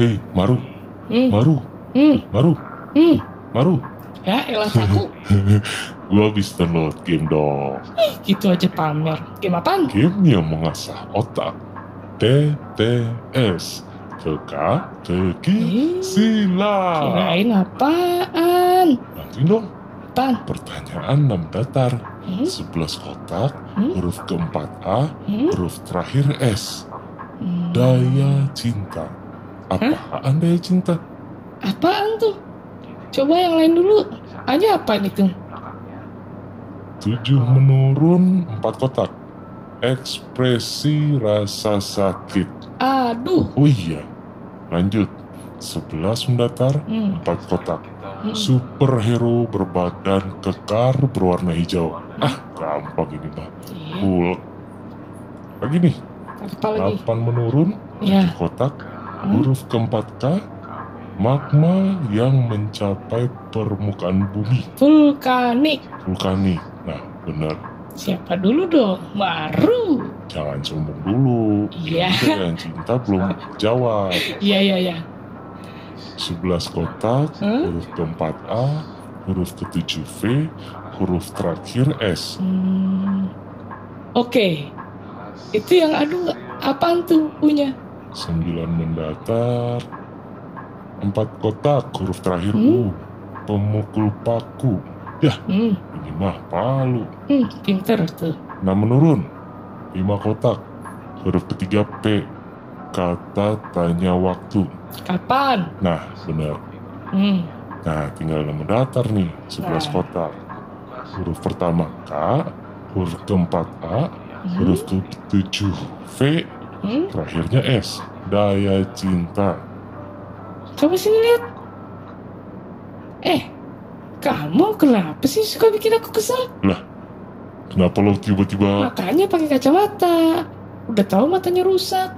Hei, Maru, Hmm, Maru, hmm, Maru, hmm. Maru. Ya elah aku. Gua habis download game dong. gitu aja pamer. Game apaan? Game yang mengasah otak. TTS. Teka, teki, Ih, sila. Kirain apaan? Nanti dong, Apaan? pertanyaan 6 datar. Hmm, 11 kotak, Hmm? huruf keempat A, hmm, huruf terakhir S. hmm. Daya cinta. Apaan daya cinta? Apaan tuh? Coba yang lain dulu. Aja apaan itu? 7 menurun, 4 kotak. Ekspresi rasa sakit. Aduh. Oh iya, lanjut. 11 mendatar, Hmm. 4 kotak. Hmm. Superhero berbadan kekar berwarna hijau. Ah, gampang ini mah. Iya. Hulk. Lagi nih, Apa lagi? Hmm? 8 menurun, Ya. 7 kotak. Huruf keempat K, magma yang mencapai permukaan bumi. Vulkanik. Vulkanik. Nah, benar. Siapa dulu dong? Baru. Jangan sombong dulu. Iya. Itu yang cinta belum jawab. Iya, iya, iya. 11 kotak, Hmm? huruf keempat A, huruf ketujuh V, huruf terakhir S. Hmm. Oke. Itu yang aduh apaan tuh punya? 9 mendatar, 4 kotak, huruf terakhir U. Hmm? Pemukul paku. Hmm. Ini mah palu. Hmm, pinter tuh. Nah menurun, 5 kotak, huruf ketiga P, kata tanya waktu. Kapan? Nah, benar. Hmm. Nah, tinggal 6 datar nih, 11 Nah. kotak. Huruf pertama K, huruf keempat A, Hmm. huruf ketujuh V, hmm. terakhirnya S. Daya cinta. Coba sini lihat. Eh, kamu kenapa sih suka bikin aku kesel? Nah, Kenapa lo tiba-tiba Makanya pakai kacamata. Udah tahu matanya rusak.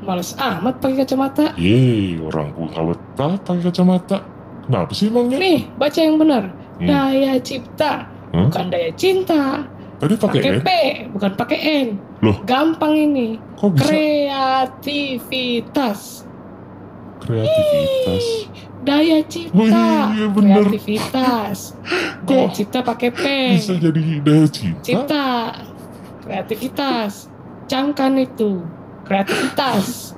Males amat pakai kacamata. Yeay, orang gue kalau tak pakai kacamata. Kenapa sih ya? emangnya? Nih, baca yang benar. Hmm. Daya cipta, Hmm? bukan daya cinta. Tadi pakai N, Pakai P, bukan pakai N. Loh? Gampang ini. kok bisa Kreativitas. kreativitas? Ih, Daya cipta. Wih, iya bener. Kreativitas. Daya Kok cipta pakai P. Bisa gitu? jadi daya cinta? Cipta. Kreativitas. Camkan itu. Kreativitas.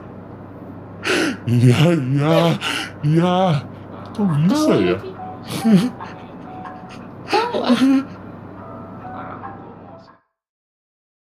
Iya, iya, iya. Kok bisa Tahu ya? lagi. Tahu ah.